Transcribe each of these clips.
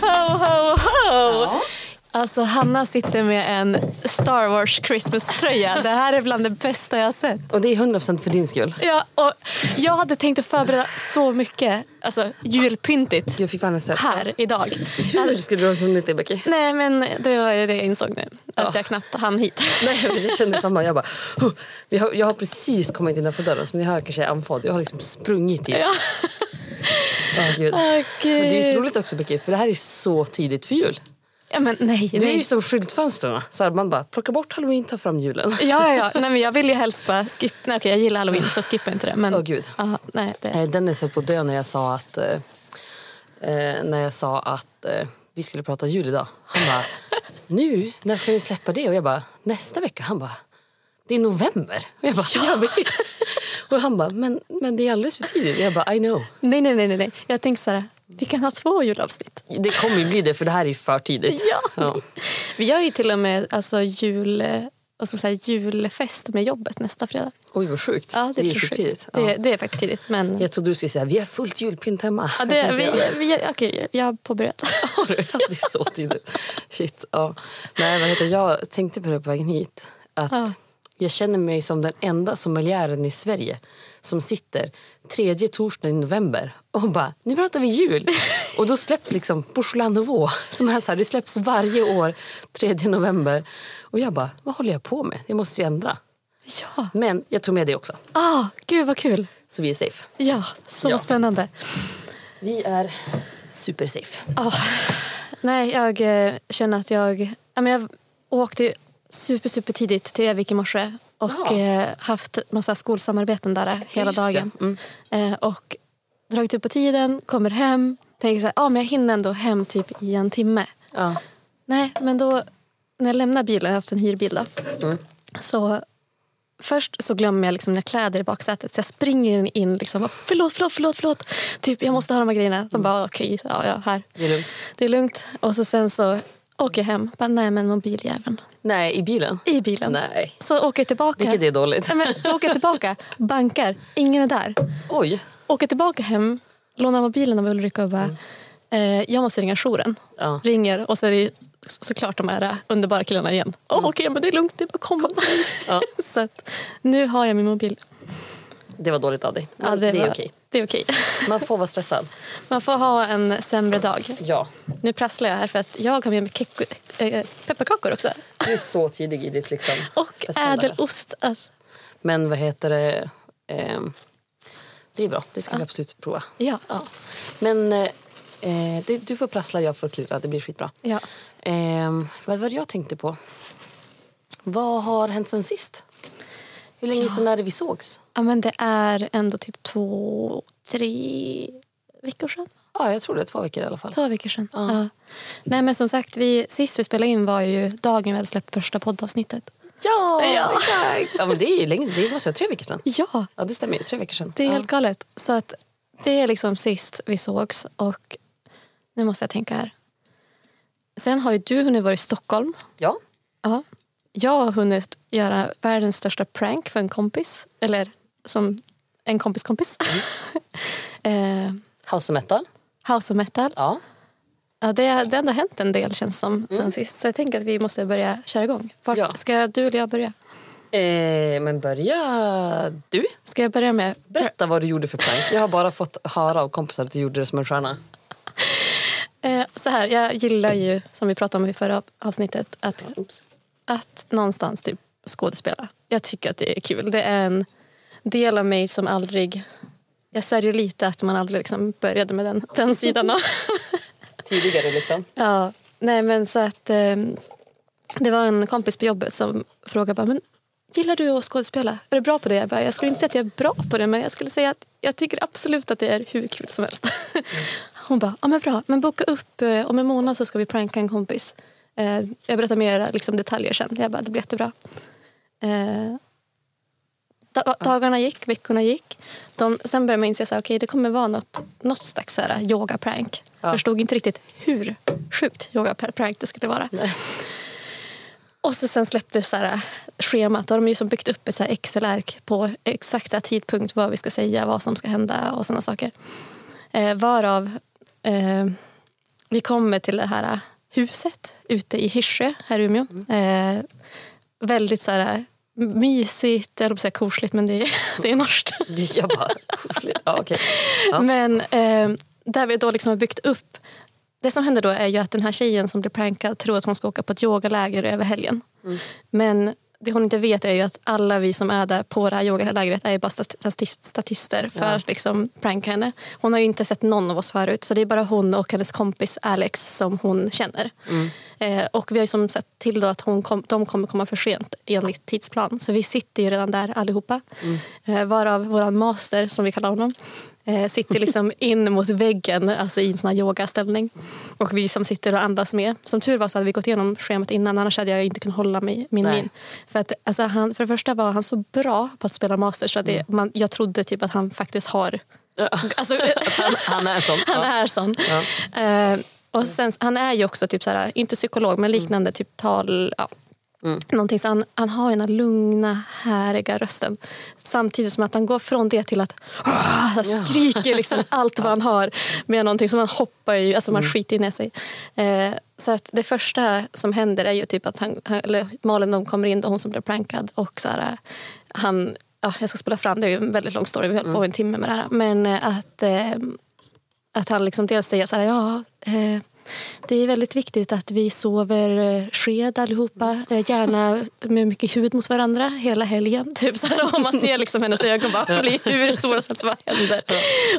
Ho, ho, ho! Ja. Alltså Hanna sitter med en Star Wars Christmas-tröja. Det här är bland det bästa jag har sett. Och det är 100% för din skull. Ja, och jag hade tänkt att förbereda så mycket alltså, julpyntigt Jag fick fan en stöt. här idag. Jag Hur hade- skulle du ha hunnit det Becky? Nej men det var ju det jag insåg nu. Att jag knappt hann hit. Nej, men jag kände samma. Jag bara, "Huh." jag, har, jag har precis kommit innanför dörren som ni hör kanske är andfådd. Jag har liksom sprungit hit. Ja. Eh. Åh, gud. Åh, Men det är ju så gud. roligt också Becky, för det här är så tidigt för jul. Ja, men nej. Det är nej. ju som skyltfönstren. Så här, man bara plocka bort halloween, ta fram julen. Ja, ja, ja. Nej, men jag vill ju helst bara skippa... Nej, okej, jag gillar halloween så skippa inte det. Men... Åh, gud. Ja, nej, det... Eh, Dennis höll på att dö när jag sa att, eh, eh, när jag sa att eh, vi skulle prata jul idag. Han bara, nu? När ska ni släppa det? Och jag bara, nästa vecka. Han bara, det är november. Och jag bara, jag vet. Och han bara, men, men det är alldeles för tidigt. Och jag bara, I know. nej, nej, nej, nej, nej. Jag tänker så här, vi kan ha två julavsnitt. Det kommer ju bli det för det här är ju för tidigt. Ja. Vi gör ju till och med alltså, jul, och som så här, julfest med jobbet nästa fredag. Oj vad sjukt. Ja, det, är är projekt. ju supertidigt. Det, Ja. det är faktiskt tidigt. Men... Jag trodde du skulle säga, vi har fullt julpynt hemma. Ja, Jag det, tänkte, vi, ja. vi, okej, jag har påbörjat. Har du? Ja, det är så tidigt. Shit. Ja. Nej, vad heter det? jag tänkte på det på vägen hit. Att Ja. Jag känner mig som den enda sommeliären i Sverige som sitter tredje torsdagen i november och bara nu pratar vi jul. Och då släpps liksom Bourgeois Nouveau. Som är så här, det släpps varje år tredje november. Och jag bara, vad håller jag på med? Jag måste ju ändra. Ja. Men jag tog med det också, Ah, gud vad kul. så vi är safe. Ja, så Ja. spännande. Vi är supersafe. Ah, nej, jag eh, känner att jag... Ja, men jag åkte ju super, super tidigt till Evik i morse och Ja. eh, haft massa skolsamarbeten där eh, hela Just det. dagen. Eh, och dragit upp på tiden, kommer hem, tänker så här, ah, men jag hinner ändå hem typ i en timme. Ja. Nej, men då när jag lämnar bilen, jag har haft en hyrbil då, Mm. så först så glömmer jag liksom mina kläder i baksätet så jag springer in liksom och förlåt, förlåt, förlåt, förlåt. Typ jag måste ha de här grejerna. De bara okej, ja, ja, här. Det är lugnt. Det är lugnt. Och så sen så åker jag hem. Bara, nej men mobiljäveln. Nej, i bilen? I bilen. Nej. Så åker jag tillbaka. Vilket är dåligt. Nej, men, då åker jag tillbaka, bankar, ingen är där. Oj. Åker tillbaka hem, lånar mobilen av Ulrika och bara eh, jag måste ringa jouren. Mm. Ja. Ringer och så är det så- såklart de här eh, underbara killarna igen. Åh Okej, men det är lugnt, det är bara att komma. Mm. Ja. så att, nu har jag min mobil. Det var dåligt av dig. Men Ja, det, är var- okej. Det är okej. Man får vara stressad. Man får ha en sämre dag. Ja. Nu prasslar jag här för att jag har med mig keko, äh, pepparkakor också. Du är så tidig i ditt liksom. Och festande. ädelost. Alltså, Men vad heter det? Ehm, det är bra. Det ska vi absolut prova. ja. Ja. Men eh, eh, det, du får prassla, jag får klirra. Det blir skitbra. ja. Ehm, vad var det jag tänkte på? Vad har hänt sen sist? Hur länge sedan är det vi sågs? Ja, men det är ändå typ två, tre veckor sedan. Ja, jag tror det. Två veckor i alla fall. Två veckor sedan. Ja. Nej, men som sagt, vi, sist vi spelade in var ju dagen vi hade släppt första poddavsnittet. Ja, Ja. exakt. Ja, men det är ju länge Det måste vara tre veckor sedan. Ja, Ja, det stämmer ju. Tre veckor sedan. det är ja. helt galet. Så att det är liksom sist vi sågs och nu måste jag tänka här. Sen har ju du hunnit vara i Stockholm. ja. Ja. Jag har hunnit göra världens största prank för en kompis. Eller som en kompis kompis. eh, House of metal. House of metal. Ja. Ja, det, det har ändå hänt en del känns som sen sist. Så jag tänker att vi måste börja köra igång. Vart, Ja. Ska du eller jag börja? Eh, men börja du. Ska jag börja med... Berätta vad du gjorde för prank. Jag har bara fått höra av kompisar att du gjorde det som en stjärna. Eh, så här, jag gillar ju, som vi pratade om i förra avsnittet, att, Oops. att någonstans typ skådespela. Jag tycker att det är kul. Det är en del av mig som aldrig... Jag sörjer lite att man aldrig liksom började med den, den sidan av Tidigare liksom. Ja, nej men så att ehm, det var en kompis på jobbet som frågade bara, men gillar du att skådespela? Är du bra på det? Jag, bara, jag skulle inte säga att jag är bra på det men jag skulle säga att jag tycker absolut att det är hur kul som helst. Hon bara, ja men bra, men boka upp, eh, om en månad så ska vi pranka en kompis. Eh, jag berättar mer liksom, detaljer sen. Jag bara, det blir jättebra. Eh, Da- dagarna gick, veckorna gick. De, sen började man inse att okay, det kommer vara något, något slags så här eh, yoga-prank. Ja. förstod inte riktigt hur sjukt yoga-prank det skulle vara. Nej. Och så sen släpptes så här, eh, schemat. Då har de ju som byggt upp ett så här Excel-ark på exakt så här tidpunkt vad vi ska säga, vad som ska hända och sådana saker. Eh, varav eh, vi kommer till det här eh, huset ute i Hirsö här i Umeå. Mm. Eh, väldigt så här mysigt, jag höll på att säga korsligt men det är, det är norskt. Jag bara... Ja, okej. Ja. Men eh, där vi då liksom har byggt upp... Det som händer då är ju att den här tjejen som blir prankad tror att hon ska åka på ett yogaläger över helgen. Mm. Men det hon inte vet är ju att alla vi som är där på det här yogalägret är ju bara stat- statist- statister för Ja. att liksom pranka henne. Hon har ju inte sett någon av oss förut så det är bara hon och hennes kompis Alex som hon känner. Mm. Eh, och vi har ju som sett till då att hon kom, de kommer komma för sent enligt tidsplan så vi sitter ju redan där allihopa. Mm. Eh, varav vår master som vi kallar honom eh, sitter liksom in mot väggen alltså i en sån här yogaställning. Och vi som sitter och andas med. Som tur var så hade vi gått igenom schemat innan annars hade jag inte kunnat hålla mig, min Nej. min. För, att, alltså, han, för det första var han så bra på att spela master så att Mm. det, man, jag trodde typ att han faktiskt har... Alltså, Han, han är en sån. han Ja. är sån. Eh, och sen, han är ju också, typ så här, inte psykolog, men liknande typ tal... Ja. Mm. Någonting, så han, han har den här lugna, häriga rösten. Samtidigt som att han går från det till att "Åh!" han Ja. skriker liksom allt vad han har med någonting som han hoppar i, alltså Mm. man skiter ner sig. Eh, så att det första som händer är ju typ att han, han- eller Malin de kommer in, då hon som blev prankad och så här, eh, han, ja, jag ska spela fram, det är ju en väldigt lång story, vi höll Mm. på en timme med det här. Men eh, att eh, att han liksom dels säger så här, ja, eh, det är väldigt viktigt att vi sover eh, sked allihopa, eh, gärna med mycket hud mot varandra hela helgen. Typ så här, och man ser liksom hennes ögon bara bli hur stora som helst, vad händer?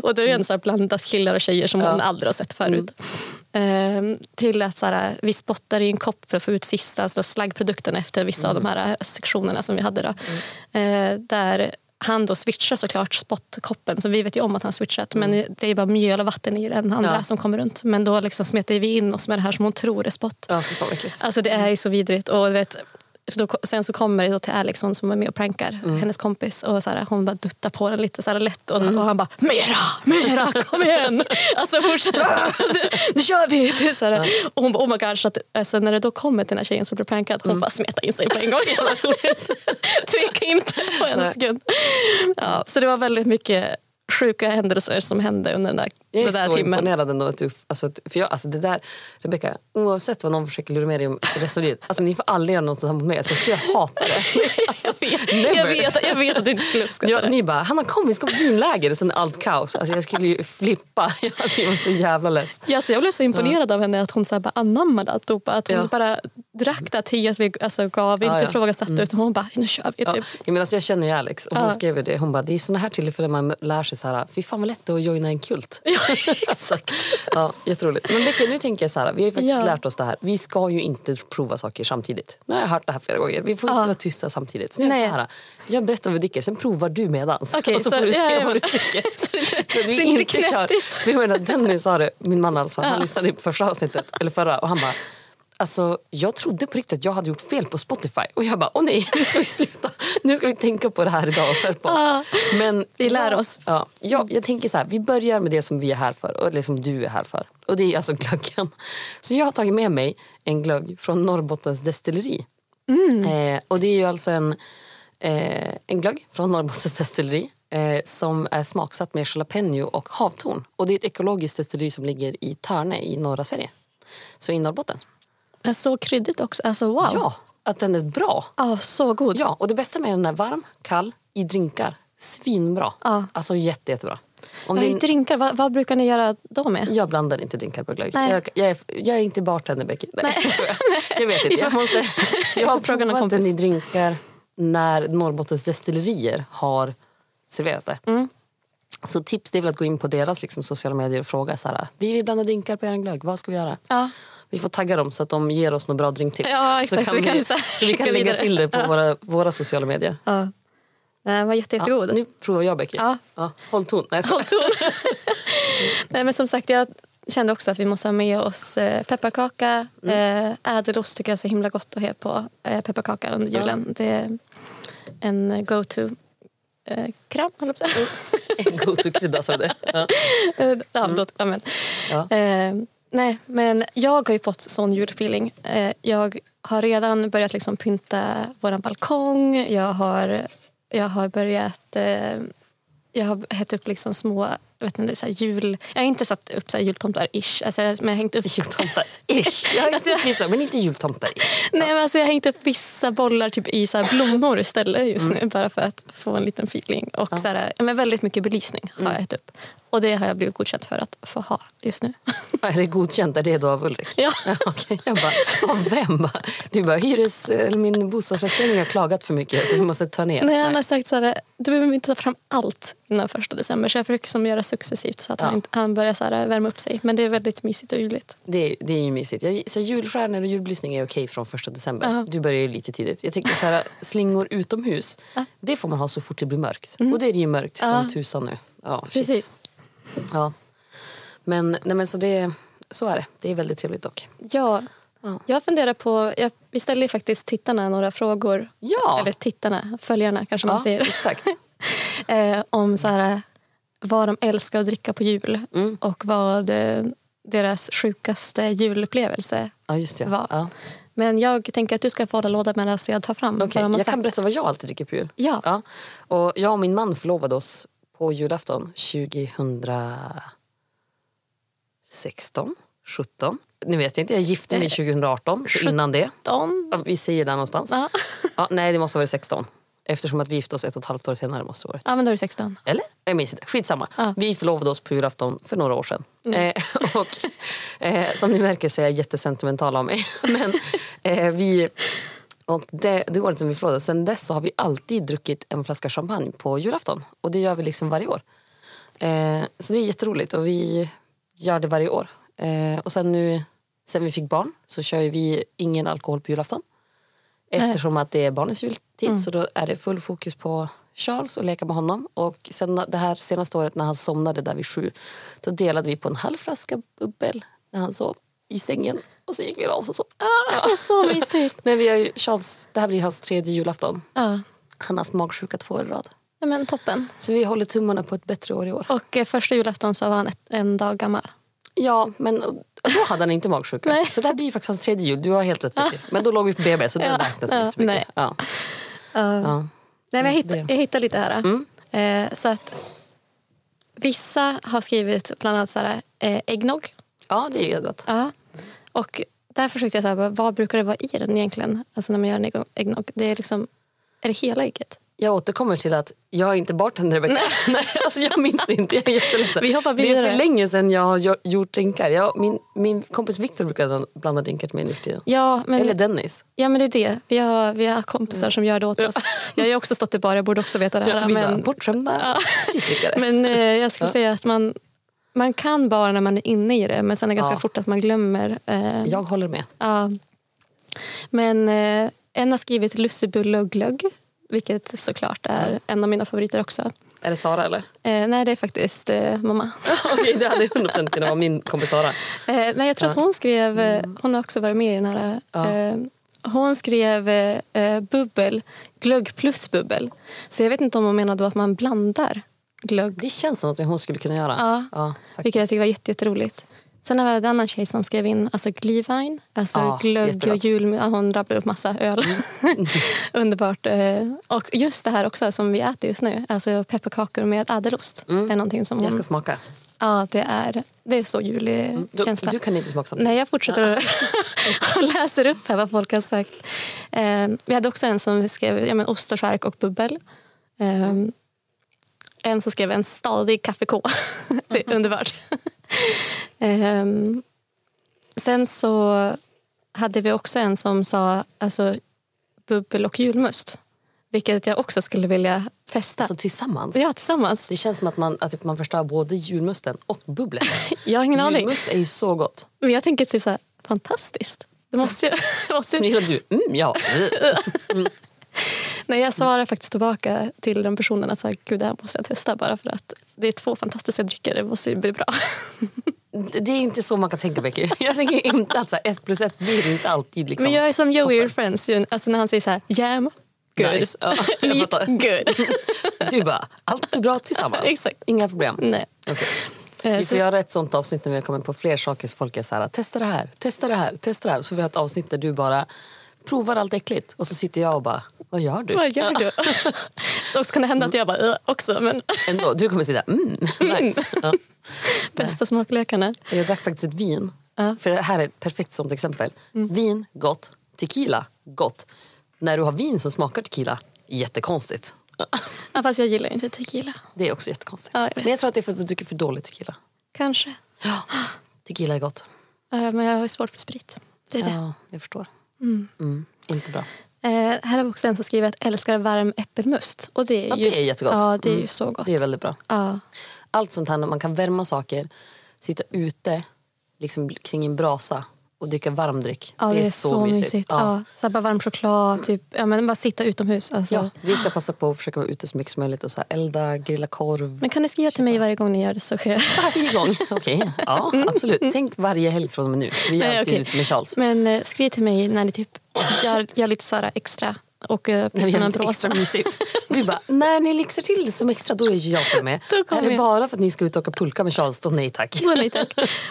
Och då är det en så här blandat killar och tjejer som hon aldrig har sett förut. Eh, till att så här, vi spottar i en kopp för att få ut sista alltså slaggprodukten efter vissa av de här eh, sektionerna som vi hade. Då. Eh, där han då switchar såklart spottkoppen, så vi vet ju om att han switchat men det är bara mjöl och vatten i den andra Ja. som kommer runt. Men då liksom smetar vi in oss med det här som hon tror är spott. Ja, fy fan vad äckligt. Alltså det är ju så vidrigt. Och du vet, så då, sen så kommer det då till Alex, hon som är med och prankar, Mm. hennes kompis. Och så här, hon bara duttar på den lite så här lätt och, Mm. och han bara “mera, mera, kom igen!” Alltså fortsätter "Ah, nu, nu kör vi! Det är så här, Och hon bara “oh my god”. Så att, alltså, när det då kommer till den här tjejen som blir prankad, Mm. hon bara smetar in sig på en gång. Tveka inte på en Nej. sekund. Ja, så det var väldigt mycket sjuka händelser som hände under den där, Jag är den där så timmen. imponerad ändå. Att du, alltså, att- för jag, alltså, det där, Rebecka, oavsett vad någon försöker lura med dig om resten av livet. Alltså, ni får aldrig göra något sånt mot mig. Alltså, jag skulle hata det. Alltså, jag, vet, jag, never. vet, jag vet att du inte skulle uppskatta Ja, det. ni bara, Hanna kom vi ska på vinläger och sen allt kaos. Alltså, jag skulle ju flippa. Jag var så jävla less. Ja, alltså jag blev så imponerad av henne att hon så här bara anammade alltihopa. Att hon Ja. bara drack det till att vi alltså, gav, Ja, inte ja. ifrågasatte utan hon bara nu kör vi. Ja, Typ. jag, menar, alltså, jag känner ju Alex och hon Ja. skrev ju det. Hon bara, det är ju såna här tillfällen man lär sig så här, fy fan vad lätt det är att joina en kult. Ja, exakt. Ja, jätteroligt. Men Becka, nu tänker jag så här, vi har ju faktiskt Ja. lärt oss det här. Vi ska ju inte prova saker samtidigt. Nu har jag hört det här flera gånger. Vi får Ja. inte vara tysta samtidigt. Så nu är Nej. jag så här, jag berättar vad vi dricker, sen provar du medans. Okej, och så, så- får du se ja, ja, vad du men- dricker. Så det- Så att så vi inte inte kör. knäpptis. För jag menar, Dennis sa det, min man alltså, han lyssnade på första avsnittet, eller förra, och han bara Alltså, jag trodde på riktigt att jag hade gjort fel på Spotify. Och jag bara, åh nej, nu ska vi sluta. Nu ska vi tänka på det här idag och skärpa Ja. oss. Men Vi lär oss. Ja, jag, jag tänker så här, vi börjar med det som vi är här för och liksom du är här för. Och det är alltså glöggen. Så jag har tagit med mig en glögg från Norrbottens destilleri. Mm. Eh, och det är ju alltså en, eh, en glögg från Norrbottens destilleri eh, som är smaksatt med jalapeno och havtorn. Och det är ett ekologiskt destilleri som ligger i Törne i norra Sverige. Så i Norrbotten. Men Så kryddigt också. Alltså wow. Ja, att den är bra. Ja, så god. Ja, och det bästa med den är varm, kall, i drinkar. Svinbra. Ja. Alltså jätte, jättebra. Om Mm. Vad det är är en- drinkar, vad, vad brukar ni göra då med? jag blandar inte drinkar på glögg. Nej. Jag, jag, är, jag är inte bartender, Becky. Nej, jag skojar. Jag vet inte. Jag, måste, jag har får fråga någon provat den i kompis. drinkar när Norrbottens destillerier har serverat det. Mm. Så tips det är väl att gå in på deras liksom, sociala medier och fråga så här, vi vill blanda drinkar på er glögg, vad ska vi göra? Ja. Vi får tagga dem så att de ger oss några bra drinktips. Ja, exakt, så, så kan vi kan vi, så här så vi kan skicka lägga vidare. till det på våra, våra sociala medier. Ja. Den var jätte, Ja, jättegod. nu provar jag Becky. Ja. håll ton. Nej, jag skojar. Håll ton. Nej, men som sagt, jag kände också att vi måste ha med oss eh, pepparkaka. Mm. Eh, ädelost tycker jag är så himla gott att ha på eh, pepparkaka under julen. Det är en go-to. eh, kram, höll jag på att säga. En go-to-krydda, sa du det? Ja. Eh, ja, då, amen. Ja. Eh, nej, men jag har ju fått sån julfeeling. Eh, jag har redan börjat liksom pynta vår balkong. Jag har, jag har börjat... Eh, jag har hett upp liksom små jag vet inte, så här jul... Jag har inte satt upp så här jultomtar-ish, alltså, jag- men jag har hängt upp... Jultomtar. Ish. Jag har Alltså, inte lite så, men inte jultomtar. Nej, men alltså, jag har hängt upp vissa bollar typ, i så här blommor istället just nu bara för att få en liten feeling. Och så här, Mm. ja, Mm. men väldigt mycket belysning har jag hett upp. Och det har jag blivit godkänt för att få ha just nu. Är det godkänt? Är det då av Ulrik? ja. Ja, Okej, jag bara, av vem? Du bara, hyres, eller min bostadsrättsförening har klagat för mycket så vi måste ta ner. Nej, han har sagt så här, du behöver inte ta fram allt innan första december. Så jag försöker som göra successivt så att Ja. han, inte- han börjar så här, värma upp sig. Men det är väldigt mysigt och juligt. Det, är, det är ju mysigt. Jag, så julstjärnor och julbelysning är okej från första december. Ja. Du börjar ju lite tidigt. Jag tycker så här, slingor utomhus, det får man ha så fort det blir mörkt. Och då är det ju mörkt som Ja. tusan nu. Ja, shit. Precis. Ja. Men, nej, men så, det, så är det. Det är väldigt trevligt dock. Ja, Ja. jag funderar på, jag, vi ställer ju faktiskt tittarna några frågor. Ja, Eller tittarna, följarna kanske man ja säger. exakt. Eh, om så här, vad de älskar att dricka på jul. Och vad eh, deras sjukaste julupplevelse Ja, just det. var. Ja. Men jag tänker att du ska få hålla låda medan jag tar fram Okej, vad de har jag sagt. kan berätta vad jag alltid dricker på jul. Ja. Ja. Och jag och min man förlovade oss på julafton 2016, 17. Nu vet jag inte, jag gifte mig 2018, så innan det. Don. Ja, Vi säger där någonstans. Ja. Ja, nej, det måste ha varit 16. Eftersom att vi gifte oss ett och ett halvt år senare. måste det ha varit. ja, men då är det 16. Eller? Jag minns inte. Skitsamma. Ja. Vi förlovade oss på julafton för några år sedan. Eh, och, eh, som ni märker så är jag jättesentimental av mig. Men eh, vi... Och det, det året som vi förlovade oss, sen dess så har vi alltid druckit en flaska champagne på julafton. Och det gör vi liksom varje år. Eh, så det är jätteroligt och vi gör det varje år. Eh, och sen nu, sen vi fick barn så kör ju vi ingen alkohol på julafton. Eftersom att det är barnens jultid Mm. så då är det full fokus på Charles och leka med honom. Och sen det här senaste året när han somnade där vid sju då delade vi på en halv flaska bubbel när han sov i sängen. Och så gick vi av och sov. Ah, så mysigt. Men vi har ju, Charles, det här blir hans tredje julafton. Ja. Han har haft magsjuka två år i rad. Nej, Men toppen. Så vi håller tummarna på ett bättre år i år. Och eh, första julafton så var han ett, en dag gammal. Ja, men och då hade han inte magsjuka. Nej. Ah. Så det här blir ju faktiskt hans tredje jul. Du har helt rätt. Becky. Men då låg vi på BB så det Ja. räknas inte så Ja, mycket. Ja. Ja. Nej, men jag, Just hitt, det. Mm. jag hittade lite här. Eh, så att vissa har skrivit bland annat så här, eh, äggnog. ja, det är ju gott. Ja. Och där försökte jag så här, bara, vad brukar det vara i den egentligen? Alltså när man gör en ägg- äggnog. Det är liksom, är det hela ägget? Jag återkommer till att jag är inte bartender, Rebecca. Nej, alltså jag minns inte. Jag är jätteledsen. Vi hoppar det är vidare. för länge sedan jag har gjo- gjort drinkar. Jag, min, min kompis Viktor brukar blanda drinkar till mig nu för tiden. Ja, men, Eller Mm. Dennis. ja, men det är det. Vi har, vi har kompisar som gör det åt oss. Jag har ju också stått i bar, jag borde också veta det här. Vi bara, men, bortskämda spritdrickare. Men eh, jag skulle Ja. säga att man, man kan bara när man är inne i det men sen är det ganska Ja. fort att man glömmer. Eh, ja. Jag håller med. Men eh, en har skrivit lussebulle och glögg vilket såklart är en av mina favoriter också. Är det Sara eller? Eh, nej, det är faktiskt eh, mamma. Okej, det hade 100% kunnat vara min kompis Sara. Eh, nej, jag tror att hon skrev, eh, Mm. hon har också varit med i den här, eh, hon skrev eh, eh, bubbel, glögg plus bubbel. Så jag vet inte om hon menade då att man blandar glögg Det känns som något hon skulle kunna göra. Ja. faktiskt. Vilket jag tyckte var jätte- jätteroligt. Sen var det en annan tjej som skrev in alltså glühwein, alltså Ja, Mm. glögg och jättegott. jul. ja, Hon rabblade upp massa öl. Underbart. eh, Och just det här också som vi äter just nu, alltså pepparkakor med ädelost. Mm. Är någonting som Jag ska hon, smaka. ja, det, är, det är så julig Mm. Du, känsla. du kan inte smaka samtidigt. Nej, jag fortsätter och läser upp här vad folk har sagt. Eh, vi hade också en som skrev ja, men ost och skärk och bubbel. Eh, en som skrev en stadig kaffeko. det Mm-hmm. är underbart. eh, sen så hade vi också en som sa alltså, bubbel och julmust. Vilket jag också skulle vilja testa. Alltså tillsammans. ja, tillsammans. Det känns som att man, att man förstör både julmusten och bubblet. Jag har ingen aning. Julmust är ju så gott. Men jag tänker typ så här, fantastiskt. Det måste ju, det måste ju Men gillar du? Mm, ja. Nej, jag svarar faktiskt tillbaka till den personen att så här, Gud, det här måste jag testa bara för att det är två fantastiska drycker, det måste ju bli bra. Det det är inte så man kan tänka, Becky. Jag tänker inte att så här, ett plus ett blir inte alltid liksom. Men jag är som Joey Your Friends, ju, alltså när han säger så här, jam, good. Nice. Ja, jag Meet fattar. good. Du bara, allt är bra tillsammans. Exakt. Inga problem. Nej. Okej. Eh, Vi så- får göra ett sånt avsnitt när vi kommer på fler saker så folk är så här, testa det här, testa det här, testa det här. Så får vi ha ett avsnitt där du bara provar allt äckligt och så sitter jag och bara, vad gör du? Vad gör du? Och så kan det hända att jag bara "Ugh", också, men Ändå, du kommer sitta, mm, nice. Ja. bästa smaklökarna. Jag drack faktiskt ett vin, Ja. Mm. för det här är ett perfekt sånt exempel. Vin, gott. Tequila, gott. När du har vin som smakar tequila, jättekonstigt. Ja, fast jag gillar inte tequila. Det är också jättekonstigt. Ja, jag vet. Men jag tror att det är för att du dricker för dålig tequila. Kanske. Ja. Tequila är gott. Eh, Men jag har ju svårt för sprit. Det är det. Ja, jag förstår. Mm, inte bra. Eh, här har vi också en som skriver att älskar varm äppelmust. Och det är Ja, ju, det är jättegott. Ja, det är ju Mm. så gott. Det är väldigt bra. ja. Allt sånt här när man kan värma saker, sitta ute liksom kring en brasa och dricka varm dryck. Ja, det, är, så, mysigt. Ja. Så här bara varm choklad, typ. ja, men bara sitta utomhus. Alltså. Ja, vi ska passa på att försöka vara ute så mycket som möjligt och så här elda, grilla korv. Men kan ni skriva till mig varje gång ni gör det så sker jag. Varje gång. Okej, ja absolut. Tänk varje helg från och med nu. Vi mm. är Nej, alltid okej. ute med Charles. Men eh, skriv till mig när ni typ gör, gör lite så här extra och eh, När vi pixar gör någon lite extra blåsa. mysigt. Du bara, när ni lyxar till det som extra då är ju jag med. Då kommer Är det jag. bara för att ni ska ut och åka pulka med Charles då? Nej tack. Gå lite.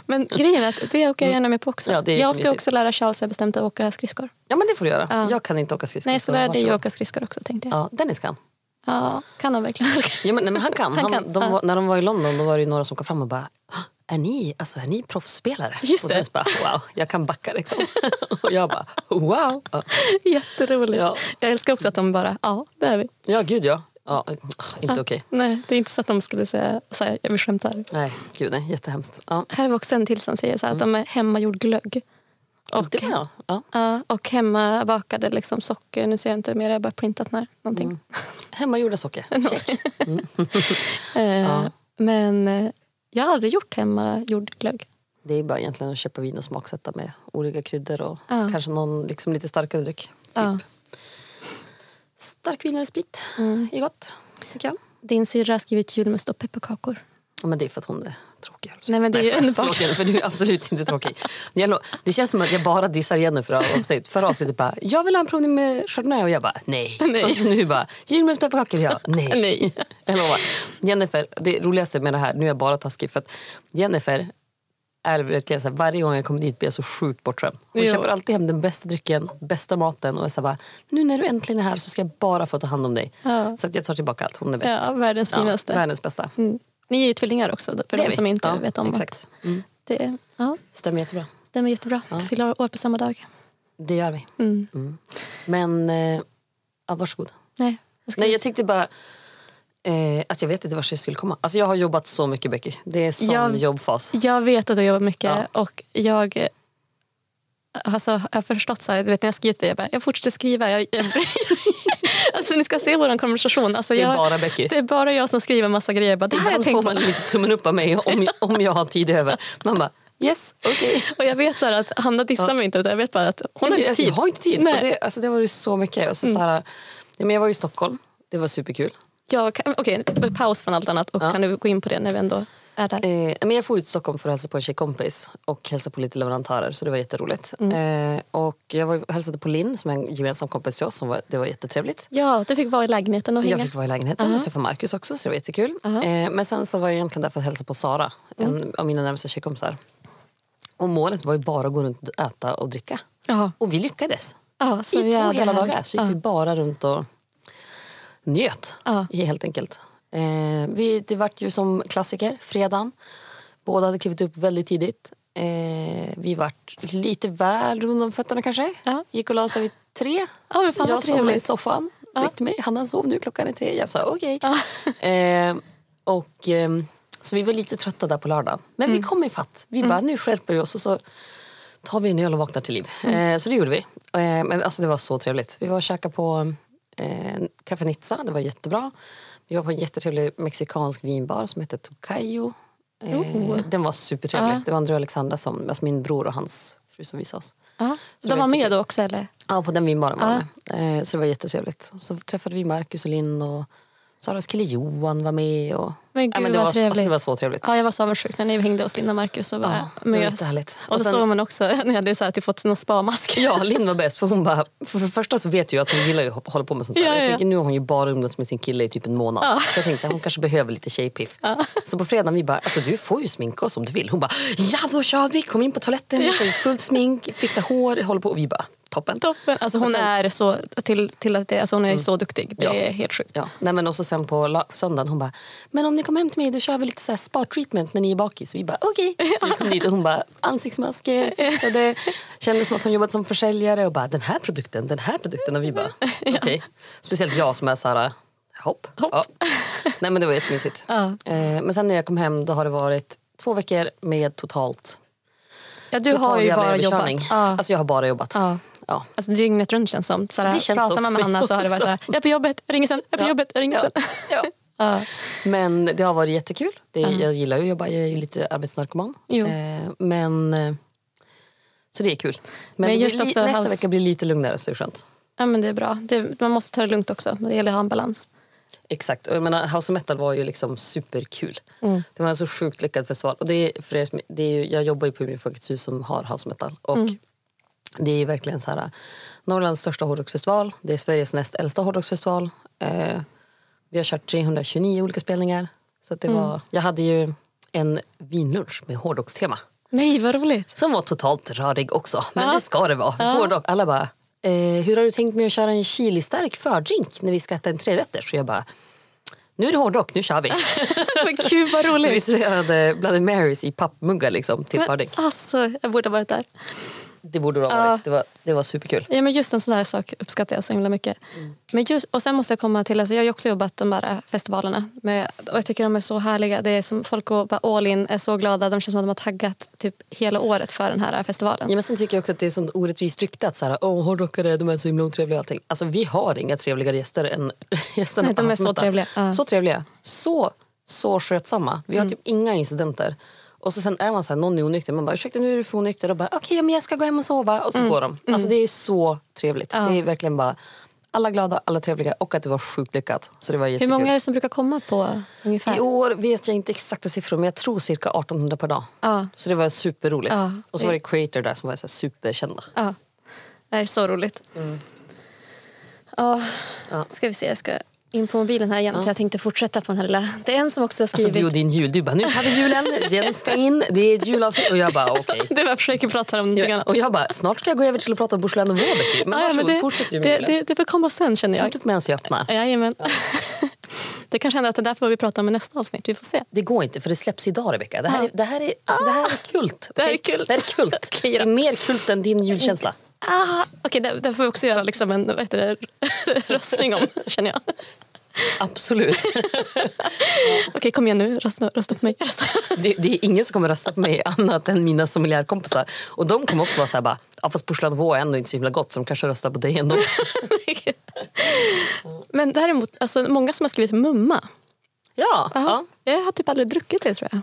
Men grejen är att det åker jag gärna med på också. Mm. Ja, det är jag ska jättemysigt. också lära Charles, jag har bestämt, att åka skridskor. Ja men det får du göra. Ja. Jag kan inte åka skridskor. Nej, jag ska så lära dig varsågod. att åka skridskor också tänkte jag. Ja, Ja, Dennis kan. kan han verkligen? Ja, men, nej, men han kan. Han Han kan, de, ja. var- När de var i London då var det ju några som kom fram och bara "Hå, är ni, alltså, är ni proffsspelare? Just och det. Dennis bara wow, jag kan backa liksom. och jag bara wow. Ja, Jätteroligt. Ja. Jag älskar också att de bara, ja det är vi. ja gud ja. ja eh, inte okej. Nej, det är inte så att de skulle säga, så här, jag vill skämta här. Nej, gud nej, jättehemskt. Ja. Här har vi också en till som säger så här, Mm. att de är hemmagjord glögg. Och, det var jag. Ja. Ja, och hemmabakade liksom socker. Nu ser jag inte mer, jag har bara printat när, någonting. Hemmagjorda socker. Check. Eh, Mm. Ja. Men eh, jag har aldrig gjort hemmagjord glögg. Det är bara egentligen att köpa vin och smaksätta med olika kryddor och Ja. kanske någon liksom, lite starkare dryck. Typ. Ja. Stark vin eller sprit Mm. är gott. tycker jag. Din syrra har skrivit julmust och pepparkakor. Ja, men det är för att hon är tråkig. alltså. Nej, men det är ju jag skojar. underbart. Förlåt, Jenny, för du är absolut inte tråkig. Jag lo- Det känns som att jag bara dissar Jenny för avsnitt. Förra avsnittet bara, jag vill ha en provning med chardonnay och jag bara, nej. Nej. Och så nu bara, julmust, pepparkakor och jag, nej. Nej. Jag lovar. Jennifer, det roligaste med det här, nu är jag bara taskig för att Jennifer är verkligen så här, varje gång jag kommer dit blir jag så sjukt bortskämd. Hon Jo. köper alltid hem den bästa drycken, bästa maten och är så här bara, nu när du äntligen är här så ska jag bara få ta hand om dig. Ja. Så att jag tar tillbaka allt, hon är bäst. Ja, världens Ja, finaste. världens bästa. Mm. Ni är ju tvillingar också, för Det är de vi. som inte Ja, vet om exakt. att det. Ja, Stämmer jättebra. den är jättebra. Fyller år på samma dag. Det gör vi. Mm. Mm. Men, eh, ja, varsågod. Nej, jag skulle Nej, jag tänkte bara eh, att jag vet inte vart jag skulle komma. Alltså, jag har jobbat så mycket, Becky. Det är sån Jag- jobbfas. Jag vet att du jobbar mycket och jag eh, alltså, jag har förstått så här, du vet när jag skrivit det, jag, bara, jag fortsätter skriva. Jag, jag, alltså, ni ska se vår konversation. Alltså, Det är jag, bara Becky. det är bara jag som skriver massa grejer. Jag Bara, det här har jag Ibland får tänkt på. man lite tummen upp av mig om, jag- om jag har tid över. Man bara, yes, okej. Och jag vet så här, att Hanna dissar mig inte utan jag vet bara att hon har Nej, inte alltså, tid. Jag har inte tid. Nej. Och Det, alltså, det har varit så mycket. Och så, så här, ja, men jag var i Stockholm. Det var superkul. Jag kan, okej, paus från allt annat och kan du gå in på det när vi ändå är där. Eh, men jag får ut till Stockholm för att hälsa på en tjejkompis och hälsa på lite leverantörer. Så det var jätteroligt. Eh, och jag var, hälsade på Linn som är en gemensam kompis till oss. Som var, det var jättetrevligt. Ja, du fick vara i lägenheten och Jag hänga. fick vara i lägenheten och träffa Marcus också så det var jättekul. Eh, men sen så var jag egentligen där för att hälsa på Sara, en av mina närmaste tjejkompisar. Och målet var ju bara att gå runt och äta och dricka. Ja, Och vi lyckades. ja, så I två jävla hela härligt. dagar så gick vi bara runt och njöt Ja. helt enkelt. Eh, vi, det vart ju som klassiker, fredagen. Båda hade klivit upp väldigt tidigt. Eh, vi vart lite väl runda om fötterna kanske. Ja. Gick och la oss där vid tre. Ja, men fan vad jag somnade i trevligt. soffan. Ja. Väckte mig. Hanna sov nu, klockan är tre. Jag sa okej. Ja. Eh, och, ehm, så vi var lite trötta där på lördagen. Men vi Mm. kom i fatt. Vi bara, nu skärper vi oss. Och så tar vi en öl och vaknar till liv. Mm. Eh, så det gjorde vi. Eh, men alltså det var så trevligt. Vi var och käkade på eh, Café Nizza, det var jättebra. Vi var på en jättetrevlig mexikansk vinbar som heter Tocayo. Eh, Den var supertrevlig. Oh. Ja. Det var André och Alexandra, som, alltså min bror och hans fru som visade oss. Ja. det De var tycker- med då också eller? Ja, på den vinbaren var de med. Eh, Så det var jättetrevligt. Så träffade vi Marcus och Linn och Saras kille Johan var med. Och, Men Ja, gud, det, vad var, alltså, det trevligt. var så trevligt. Ja, jag var så avundsjuk när ni hängde hos Linda och Marcus och Ja, bara det var mös. jättehärligt. Och, Och så sen- såg man också när jag hade så här, typ fått någon spamask. Ja, Linn var bäst. För hon bara, för det första så vet jag ju att hon gillar ju att hoppa- hålla på med sånt där. Ja, ja, jag ja. tänker, nu har hon ju bara umgåtts med sin kille i typ en månad. Så jag tänkte att hon kanske behöver lite tjejpiff. Så på fredagen vi bara, alltså du får ju sminka oss om du vill. Hon bara, ja då kör vi! Kom in på toaletten, vi kör ju fullt smink, fixa hår, håller på. Och vi bara, toppen. Toppen. Alltså hon Och sen- Mm. är så till, till att det, alltså hon är så duktig. Det Ja. är helt sjukt. Ja. Nej, men och så sen på la- söndagen hon bara, men om ni kommer hem till mig då kör vi lite så här spa-treatment när ni är bakis. Vi bara okej. Så vi kom dit och hon bara ansiktsmasker, fixade, kände som att hon jobbat som försäljare och bara den här produkten, den här produkten. Och vi bara okej. Speciellt jag som är så här, hopp. Ja. Nej men det var jättemysigt. Ja. Eh, men sen när jag kom hem då har det varit två veckor med totalt Ja, du har total ju jävla bara jobbat. överkörning. Ja. Alltså jag har bara jobbat. Ja. Ja. Alltså dygnet runt känns som. Såhär, Det känns pratar så man med för mig Anna så har det varit också. såhär, jag är på jobbet, jag ringer sen, jag är på jobbet, jag ringer sen. Ja. Ja. Men det har varit jättekul. Det, Jag gillar ju att jobba, jag är ju lite arbetsnarkoman. Mm. Jo. Eh, men, eh, så det är kul. Men, Men det just blir, li- också nästa house- vecka blir lite lugnare så det är skönt. ja men det är bra. Det, man måste ta det lugnt också. Det gäller att ha en balans. Exakt. Och jag menar, House of Metal var ju liksom superkul. Det var en så sjukt lyckad festival. Och det är, för er, som- det är ju, jag jobbar ju på Umeå Folkets hus som har House of Metal. Och Det är ju verkligen så här, äh, Norrlands största hårdrocksfestival. Det är Sveriges näst äldsta hårdrocksfestival. Eh, vi har kört 329 olika spelningar. Så att det var, jag hade ju en vinlunch med hårdrockstema. Nej vad roligt. Som var totalt rörig också. Men det ska det vara. Hårdrock. Alla bara, eh, hur har du tänkt mig att köra en chilistark fördrink när vi ska äta en trerätter? Så jag bara, nu är det hårdrock, nu kör vi. Men gud vad så vi roligt. serverade Bloody Marys i pappmuggar liksom, till Men, fördrink. alltså, jag borde ha varit där. Det borde du ha varit. Det, var, det var superkul. Ja, men just en sån här sak uppskattar jag så himla mycket. Mm. Men just, och sen måste jag komma till, alltså jag har ju också jobbat de här festivalerna med, och jag tycker de är så härliga. Det är som folk går bara all in, är så glada. De känns som att de har taggat typ hela året för den här Ja, festivalen. men sen tycker jag också att det är sånt orättvist rykte att så här, Åh, hårdrockare de är så himla otrevliga. och Allting. Alltså, vi har inga trevligare gäster än gästerna Nej, de på är Hans så Mata. trevliga, ja. Mm. Så trevliga. Så, så skötsamma. Vi har typ inga incidenter. Och så sen är man så här, någon är onykter. Man bara, ursäkta nu är du för onykter. Och bara, okej ja, men jag ska gå hem och sova. Och så Mm. går de. Alltså det är så trevligt. Det är verkligen bara alla glada, alla trevliga och att det var sjukt lyckat. Så det var Hur jättekul. många är det som brukar komma på ungefär? I år vet jag inte exakta siffror men jag tror cirka 1800 per dag. Ja. Så det var superroligt. Ja. Och så var det creator där som var så här superkända. Ja. Det är så roligt. Mm. Ja. Ska vi se, jag ska in på mobilen här igen för jag tänkte fortsätta på den här lilla. Det är en som också har Alltså skrivit... du och din jul, du bara nu har vi julen, den ska in, det är ett julavsnitt och jag bara okej. det var jag försöker prata om någonting annat. Och jag bara snart ska jag gå över till att prata om Bushland och Vårby. Men Ja, ja, varsågod, det, fortsätt ju med det, julen. det, det får komma sen känner jag. Fortsätt medan jag öppnar. Jajamän. Det kanske händer att det är därför vi pratar om i nästa avsnitt. Vi får se. Det går inte för det släpps idag Rebecka. Det här är, det här är, alltså, det här är kult. Ah! Det här är okej? kult. Det här är kult. Det är mer kult än din julkänsla. Ah, Okej, där, där får vi också göra liksom en vad heter det, röstning om, känner jag. Absolut. Okej, kom igen nu. Rösta, rösta på mig. Rösta. Det, det är ingen som kommer rösta på mig annat än mina sommelierkompisar. Och de kommer också vara så här bara, ja fast Bushland och Vårby är ändå inte så himla gott så de kanske röstar på dig ändå. Men däremot, alltså, många som har skrivit mumma. Ja. Ja. ja. Jag har typ aldrig druckit det, tror jag.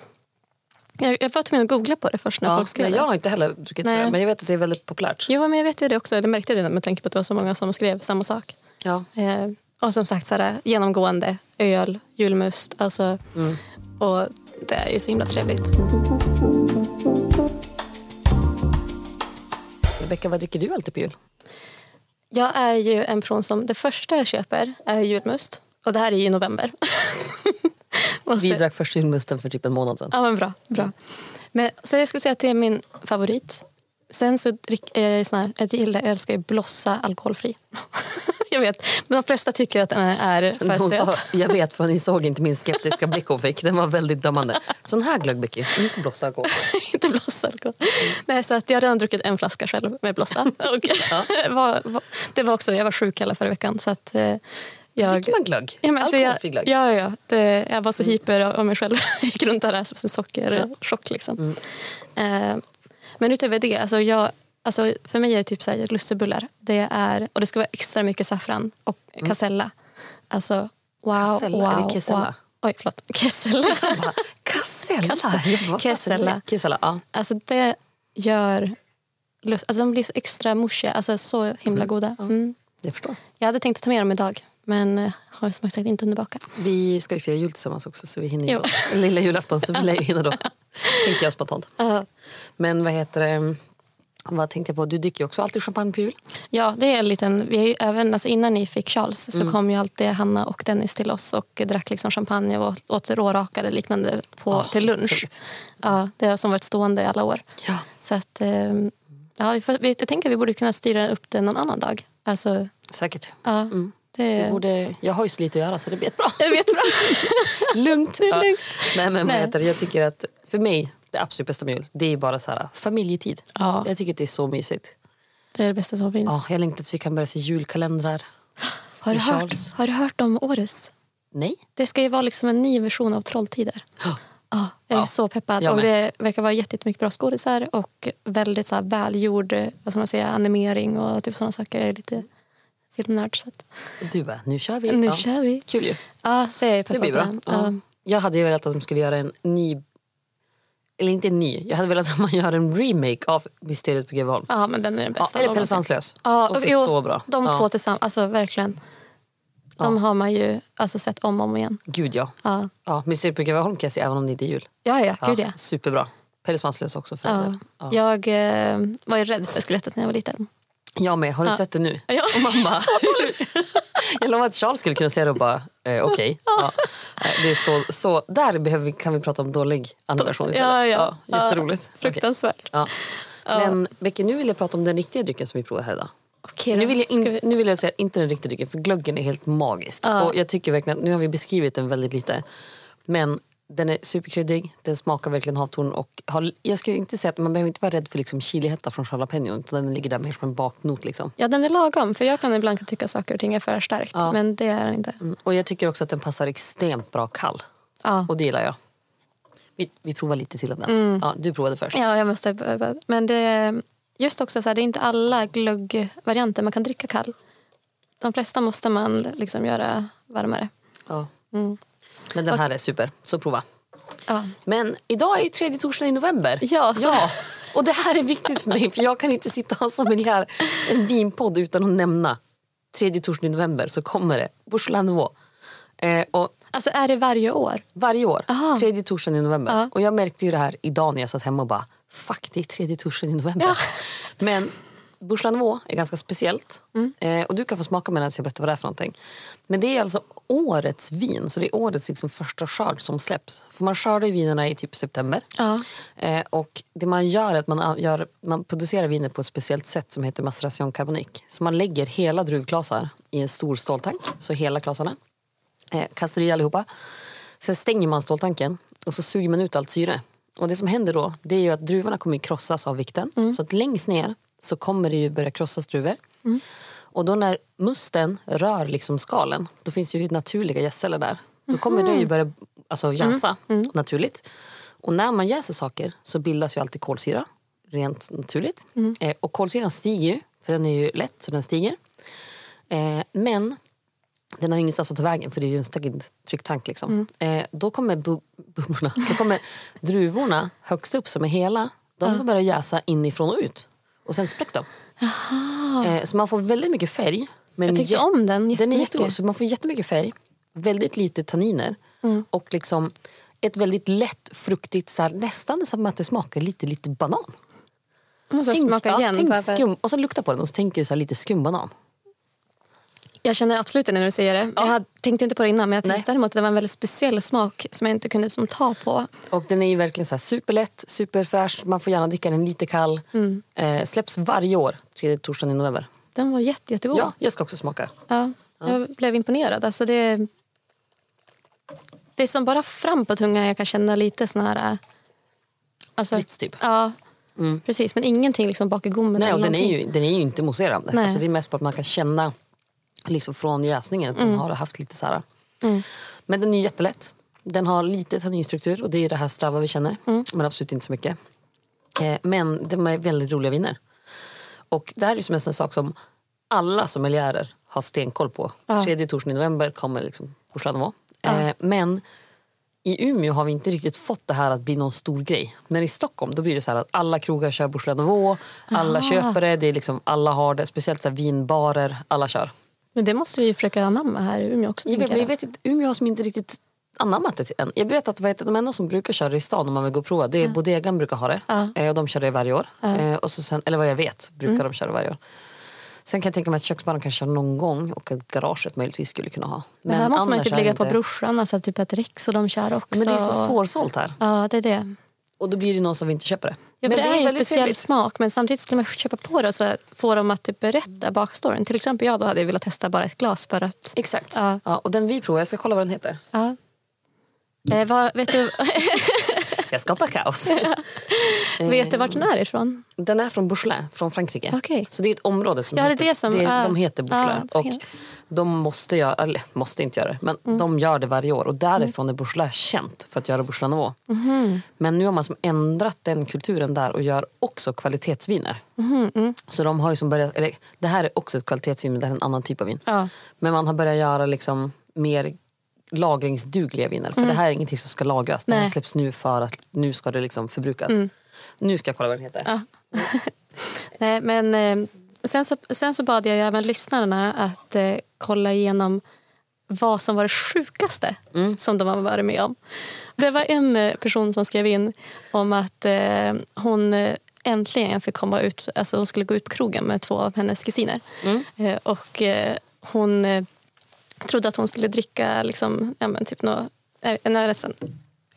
Jag, jag var tvungen att googla på det först när Ja, folk skrev nej, det. jag har inte heller druckit Nej. det, men jag vet att det är väldigt populärt. Jo, men jag vet ju det också. Det märkte jag det med tanke på att det var så många som skrev samma sak. Ja. Eh, och som sagt, så här, genomgående öl, julmust. Alltså, Och det är ju så himla trevligt. Rebecka, vad dricker du alltid på jul? Jag är ju en person som... Det första jag köper är julmust. Och det här är ju i november. Måste- Vi drack första julmusten för typ en månad sedan. Ja, men bra. bra. Men, så jag skulle säga att det är min favorit. Sen så drick, är jag ju sån här, jag gillar, jag älskar ju blossa alkoholfri. jag vet, men de flesta tycker att den är för Men hon sa, söt. jag vet för ni såg inte min skeptiska blick hon fick. Den var väldigt dömande. Sån här glögg Becky, inte blossa alkohol. inte blossa alkohol. Nej, så att jag har redan druckit en flaska själv med blossa. Och var, var, det var också, jag var sjuk hela förra veckan. Så att, eh, jag, Dricker man glögg? ja, men, alltså, jag, Alkoholfri ja, glögg? Mm. ja, ja, det, jag var så hyper av- av mig själv. Jag gick runt där som en sockerchock. Mm. Liksom. Eh, men utöver det, alltså, jag, alltså, för mig är det typ så här, lussebullar. Det är, och det ska vara extra mycket saffran och kassella. Alltså, wow, Kassella, Mm. är det wow, kessella? wow. Oj, förlåt. Kessella. Bara, Kassella! Jag bara, vad fan är det? Kassella. Kassella, ja. Alltså det gör... lust- Alltså de blir så extra mushiga, alltså så himla goda. Mm. Jag förstår. Jag hade tänkt att ta med dem idag, Men eh, har som sagt inte hunnit baka. Vi ska ju fira jul tillsammans också så vi hinner ju Jo. då. Lilla julafton så vi lär ju hinna då. Tänker jag spontant. Men vad heter det? Vad tänkte jag på? Du dricker ju också alltid champagne på jul. Ja, det är en liten... Vi är ju även, alltså innan ni fick Charles så kom ju alltid Hanna och Dennis till oss och drack liksom champagne och åt- åt rårakade liknande på, Ja, till lunch. otroligt. Ja, det har som varit stående i alla år. Ja. Så att, eh, ja, vi får, vi, jag tänker att vi borde kunna styra upp det någon annan dag. Alltså, Säkert. ja, det, Jag, borde, jag har ju så lite att göra så det blir bra. Jag vet bra. Lugnt. Ja. lugnt. Nej, men vad Nej. heter det? Jag tycker att för mig, det absolut bästa med jul, det är bara så här, familjetid. Ja, Jag tycker att det är så mysigt. det är det bästa som finns. Ja, jag längtar tills vi kan börja se julkalendrar. har, du med hört, Charles. har du hört om Åres? Nej. Det ska ju vara liksom en ny version av Trolltider. Ja. Ja, jag är Ja, så peppad. jag och med. det verkar vara jättemycket bra skådisar och väldigt så här välgjord eh, vad ska man säga, animering och typ sådana saker. Jag är lite filmnörd. Så att, Du bara, nu kör vi. nu Ja. kör vi. Kul ju. Ja, så jag är Det peppad blir på bra. den. Ja. Ja. Jag hade ju velat att de skulle göra en ny... Eller inte en ny. Jag hade velat att man gör en remake av Mysteriet på Greveholm. Ja, men den är den Ja, bästa. eller Pelle någonsin. Svanslös. Ja, Också och- jo, så bra. De ja. två tillsammans, alltså verkligen. De har man ju alltså, sett om och om igen. Gud ja. Ja, ja. Mysteriet på Greveholm kan jag se även om det inte är jul. ja, ja, gud ja. Superbra. Pelle Svanslös också för ja. ja. Ja. Jag eh, var ju rädd för skelettet när jag var liten. Jag med. Har du sett det nu? Ja. Och mamma. jag lovade att Charles skulle kunna se det och bara, eh, okej. Ja. Nej, Det är så, så, där behöver vi, kan vi prata om dålig animation istället. Ja, ja. jätteroligt. Ja, Okej. fruktansvärt. Ja. Men Becky, nu vill jag prata om den riktiga drycken som vi provar här idag. Okej, Nu då vill jag, ska in, vi- nu vill jag säga inte den riktiga drycken för glöggen är helt magisk. Ja. Och jag tycker verkligen att, nu har vi beskrivit den väldigt lite. Men den är superkryddig, den smakar verkligen havtorn och har, jag skulle inte säga att man behöver inte vara rädd för liksom chilihetta från jalapeno utan den ligger där mer som en baknot liksom. Ja, den är lagom. För jag kan ibland tycka saker och ting är för starkt. Ja. Men det är den inte. Mm. Och jag tycker också att den passar extremt bra kall. Ja. Och det gillar jag. Vi, vi provar lite till av den. Ja, du provade först. Mm. ja, jag måste... b- b- Men det... Just också så här, det är inte alla glöggvarianter man kan dricka kall. De flesta måste man liksom göra varmare. Ja. Mm. Men den här är super, så prova. Ja, Men idag är ju tredje torsdagen i november. Ja, så- ja. Och det här är viktigt för mig för jag kan inte sitta och ha sommelier en vinpodd utan att nämna tredje torsdagen i november så kommer det Bourgeois Nouveau. Eh, och Alltså är det varje år? varje år, Aha. tredje torsdagen i november. Ja. Och jag märkte ju det här idag när jag satt hemma och bara fuck det är tredje torsdagen i november. Ja. Men Bourgeois Nouveau är ganska speciellt. Mm. Eh, och du kan få smaka medan jag berättar vad det är för någonting. Men det är alltså årets vin, så det är årets liksom första skörd som släpps. För man skördar ju vinerna i typ september. Ja. Eh, och det man gör är att man, a- gör, man producerar vinet på ett speciellt sätt som heter maceration carbonique. Så man lägger hela druvklasar i en stor ståltank, så hela klasarna. Eh, kastar i allihopa. Sen stänger man ståltanken och så suger man ut allt syre. Och det som händer då det är ju att druvorna kommer ju krossas av vikten. Så att längst ner så kommer det ju börja krossas druvor. Och då när musten rör liksom skalen, då finns ju naturliga jäsceller där. Då kommer det ju börja alltså, jäsa naturligt. Och när man jäser saker så bildas ju alltid kolsyra, rent naturligt. Eh, och kolsyran stiger ju, för den är ju lätt så den stiger. Eh, men den har ju ingenstans att ta vägen för det är ju en stängd trycktank. Mm. Liksom. Eh, då kommer bu- bubborna, då kommer druvorna högst upp som är hela, de börjar jäsa inifrån och ut. Och sen spräcks de. Eh, så man får väldigt mycket färg. Men Jag tyckte jätte- om den den är jättemycket. jättegod, så man får jättemycket färg, väldigt lite tanniner Mm. och liksom ett väldigt lätt fruktigt, så här, nästan som att det smakar lite, lite banan. Jag måste smaka ja, igen. bara tänk för- skum, och så lukta på den och så tänker du så här, lite skumbanan. Jag känner absolut det när du säger det. Jag hade, tänkte inte på det innan men jag tänkte Nej. däremot att det var en väldigt speciell smak som jag inte kunde som, ta på. Och den är ju verkligen så här superlätt, superfräsch. Man får gärna dricka den lite kall. Eh, släpps varje år, tredje torsdagen i november. Den var jätte, jättegod. Ja, jag ska också smaka. Ja, jag blev imponerad. Alltså det, det är som bara fram på tungan jag kan känna lite sån här... äh, Alltså, Splits, typ. Ja, precis. Men ingenting liksom bak i gommen. Nej, eller och den är, någonting. ju, den är ju inte mousserande. Nej. Alltså, det är mest bara att man kan känna liksom, från jäsningen att Mm. den har haft lite så här. Men den är ju jättelätt. Den har lite tanninstruktur och det är ju det här strava vi känner. Mm. Men absolut inte så mycket. Eh, men de är väldigt roliga viner. Och det här är ju som en sån sak som alla sommelierer har stenkoll på. Tredje torsdagen i november kommer liksom Bourgeois Nouveau. Eh, men i Umeå har vi inte riktigt fått det här att bli någon stor grej. Men i Stockholm då blir det så här att alla krogar kör Bourgeois Nouveau. Alla köper det, det är liksom, alla har det. Speciellt så här vinbarer, alla kör. Men det måste vi ju försöka anamma här i Umeå också. Jag vet, tänker men jag vet inte, Umeå har som inte riktigt anammat det än. Jag vet att vad heter, de enda som brukar köra i stan om man vill gå och prova, det är Bodegan brukar ha det. Ja. Eh, Och de kör det varje år. Eh, Och så sen, eller vad jag vet brukar de köra varje år. Sen kan jag tänka mig att köksbaren kan köra någon gång och att garaget möjligtvis skulle kunna ha. Men här måste man ju annars typ är ligga det på brorsan, alltså typ att Rex och de kör också. Men det är så svårsålt här. Ja, det är det. Och då blir det någon som inte köper det. Ja, men för det, är ju en väldigt speciell trevligt. smak men samtidigt skulle man köpa på det och så få dem att typ berätta bakstoryn. Till exempel jag då hade velat testa bara ett glas för att... Exakt. Ja. Ja. och den vi provar, jag ska kolla vad den heter. Ja. Eh, var, vet, du, Jag skapar kaos. vet du vart den är ifrån? Den är från Bourgelais, från Frankrike. Okej. Så det är ett område som Ja, det är heter, det som- är- ah. de heter Bourgelais. Ah, och okej. de måste göra, eller måste inte göra det, men Mm. de gör det varje år. Och därifrån är Bourgelais känt för att göra Bourgelais Nouveau. Mhm. Men nu har man som ändrat den kulturen där och gör också kvalitetsviner. Mhm, mm. Så de har ju som börjat, eller det här är också ett kvalitetsvin men det här är en annan typ av vin. Ja. Men man har börjat göra liksom mer lagringsdugliga viner. För det här är ingenting som ska lagras. Det här Mm. Nej. Mm. släpps nu för att nu ska det liksom förbrukas. Nu ska jag kolla vad den heter. Nej, men eh, sen, så, sen så bad jag ju även lyssnarna att eh, kolla igenom vad som var det sjukaste som de har varit med om. Det var en eh, person som skrev in om att eh, hon eh, äntligen fick komma ut, alltså hon skulle gå ut på krogen med två av hennes kusiner. Eh, och eh, hon eh, trodde att hon skulle dricka liksom, ja, men typ nå, eh, en öl sen.